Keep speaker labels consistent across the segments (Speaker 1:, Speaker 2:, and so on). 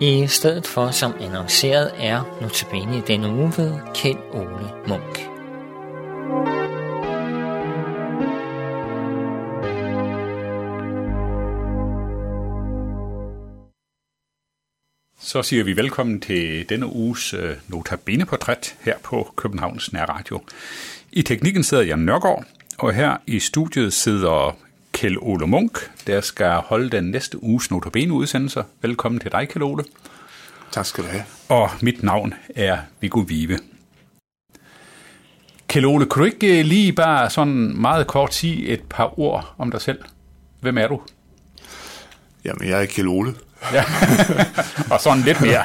Speaker 1: I stedet for som annonceret er notabene i denne uge ved Kjeld Ole Munk.
Speaker 2: Så siger vi velkommen til denne uges øh, Notabene-portræt her på Københavns Nær Radio. I teknikken sidder Jan Nørgaard, og her i studiet sidder Kjell Ole Munk, der skal holde den næste uges Notabene-udsendelser. Velkommen til dig, Kjell Ole.
Speaker 3: Tak skal du have.
Speaker 2: Og mit navn er Viggo Vive. Kjell Ole, kan du ikke øh, lige bare sådan meget kort sige et par ord om dig selv? Hvem er du?
Speaker 3: Jamen, jeg er Kjell Ole,
Speaker 2: Ja. og sådan lidt mere.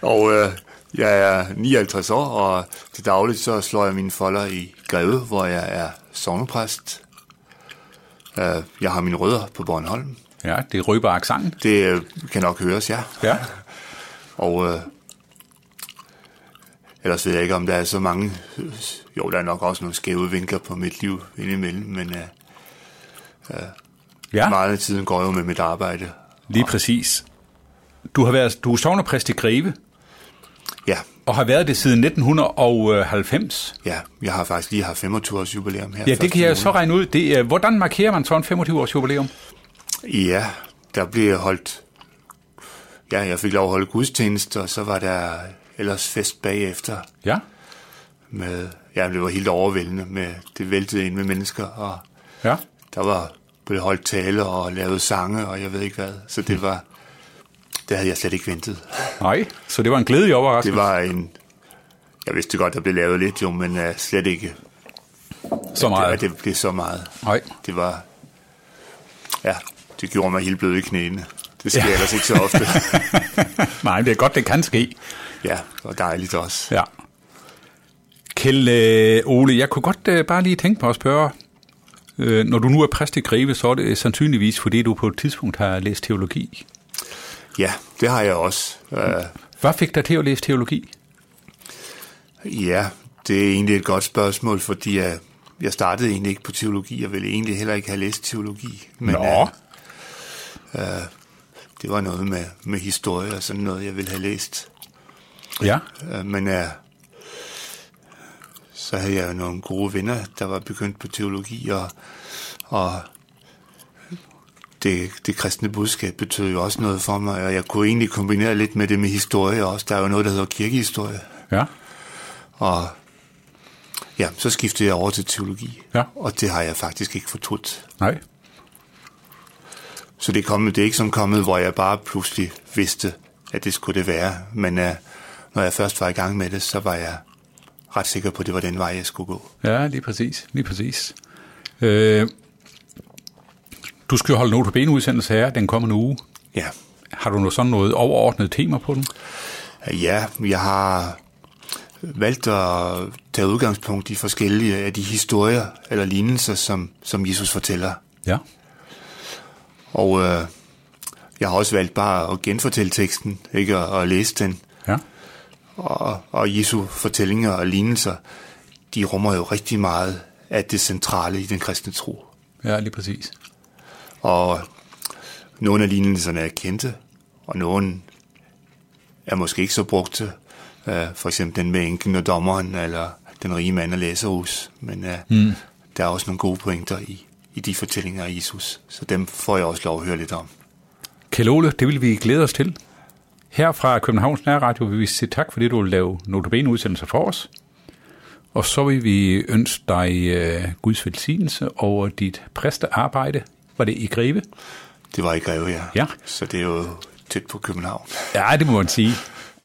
Speaker 3: og øh, jeg er 59 år, og til dagligt så slår jeg mine folder i Greve, hvor jeg er sovnepræst. Øh, jeg har mine rødder på Bornholm.
Speaker 2: Ja, det røber accenten.
Speaker 3: Det øh, kan nok høres, ja.
Speaker 2: Ja.
Speaker 3: Og øh, ellers ved jeg ikke, om der er så mange... Jo, der er nok også nogle skæve vinkler på mit liv indimellem, men øh,
Speaker 2: ja.
Speaker 3: meget af tiden går jo med mit arbejde.
Speaker 2: Lige præcis. Du har været du er sognepræst i Greve,
Speaker 3: Ja,
Speaker 2: og har været det siden 1990.
Speaker 3: ja, jeg har faktisk lige haft 25 års jubilæum her.
Speaker 2: Ja, det
Speaker 3: første
Speaker 2: kan jeg jo
Speaker 3: måned.
Speaker 2: så regne ud. Det, er- hvordan markerer man sådan 25-års jubilæum?
Speaker 3: Ja, der blev holdt... Ja, jeg fik lov at holde gudstjeneste, og så var der ellers fest bagefter.
Speaker 2: Ja.
Speaker 3: Med, ja, det var helt overvældende. Med, det væltede ind med mennesker, og
Speaker 2: Ja.
Speaker 3: der var blev holdt tale og lavet sange, og jeg ved ikke hvad. Så det var... Det havde jeg slet ikke ventet.
Speaker 2: Nej, så det var en glædelig
Speaker 3: Det
Speaker 2: overraskelse.
Speaker 3: var en... Jeg vidste godt, der blev lavet lidt jo, men uh, slet ikke,
Speaker 2: så
Speaker 3: at
Speaker 2: meget.
Speaker 3: det blev så meget.
Speaker 2: Nej.
Speaker 3: Det var... Ja, det gjorde mig helt blød i knæene. Det sker ja. ellers ikke så ofte.
Speaker 2: Nej, det er godt, det kan ske.
Speaker 3: ja, og dejligt også.
Speaker 2: Ja. Kjell øh, Ole, jeg kunne godt øh, bare lige tænke mig at spørge, øh, når du nu er præst i Greve, så er det sandsynligvis, fordi du på et tidspunkt har læst teologi.
Speaker 3: Ja, det har jeg også. Uh,
Speaker 2: Hvad fik dig til at læse teologi?
Speaker 3: ja, det er egentlig et godt spørgsmål, fordi uh, jeg startede egentlig ikke på teologi, og ville egentlig heller ikke have læst teologi. Men
Speaker 2: Nå.
Speaker 3: øh, det var noget med, med historie og sådan noget, jeg ville have læst.
Speaker 2: Ja.
Speaker 3: Uh, men uh, så havde jeg jo nogle gode venner, der var begyndt på teologi, og, og det, det kristne budskab betød jo også noget for mig, og jeg kunne egentlig kombinere lidt med det med historie også. Der er jo noget, der hedder kirkehistorie.
Speaker 2: Ja.
Speaker 3: Og ja, så skiftede jeg over til teologi.
Speaker 2: Ja.
Speaker 3: Og det har jeg faktisk ikke fortrudt.
Speaker 2: Nej.
Speaker 3: Så det er, kommet, det er ikke som kommet, hvor jeg bare pludselig vidste, at det skulle det være. Men uh, når jeg først var i gang med det, så var jeg ret sikker på, at det var den vej, jeg skulle gå.
Speaker 2: Ja, lige præcis. Lige præcis. Øh, du skal jo holde noget på benudsendelse her den kommende uge.
Speaker 3: Ja,
Speaker 2: Har du noget sådan noget overordnet tema på den?
Speaker 3: Øh, ja jeg har valgt at tage udgangspunkt i forskellige af de historier eller lignelser, som, som Jesus fortæller.
Speaker 2: Ja.
Speaker 3: Og øh, jeg har også valgt bare at genfortælle teksten, ikke at, at læse den.
Speaker 2: Ja.
Speaker 3: og, og Jesu fortællinger og lignelser, de rummer jo rigtig meget af det centrale i den kristne tro.
Speaker 2: Ja, lige præcis.
Speaker 3: Og nogle af lignelserne er kendte, og nogle er måske ikke så brugte. Øh, For eksempel den med enken og dommeren, eller den rige mand og læserhus. Men øh, mm. der er også nogle gode pointer i, i de fortællinger af Jesus, så dem får jeg også lov at høre lidt om.
Speaker 2: Kjell Ole, det vil vi glæde os til. Her fra Københavns Nærradio vil vi sige tak, fordi du vil lave notabene udsendelser for os. Og så vil vi ønske dig øh, Guds velsignelse over dit præstearbejde. Var det i Greve?
Speaker 3: Det var i Greve, ja.
Speaker 2: Ja.
Speaker 3: Så det er jo tæt på København.
Speaker 2: Ja, det må man sige.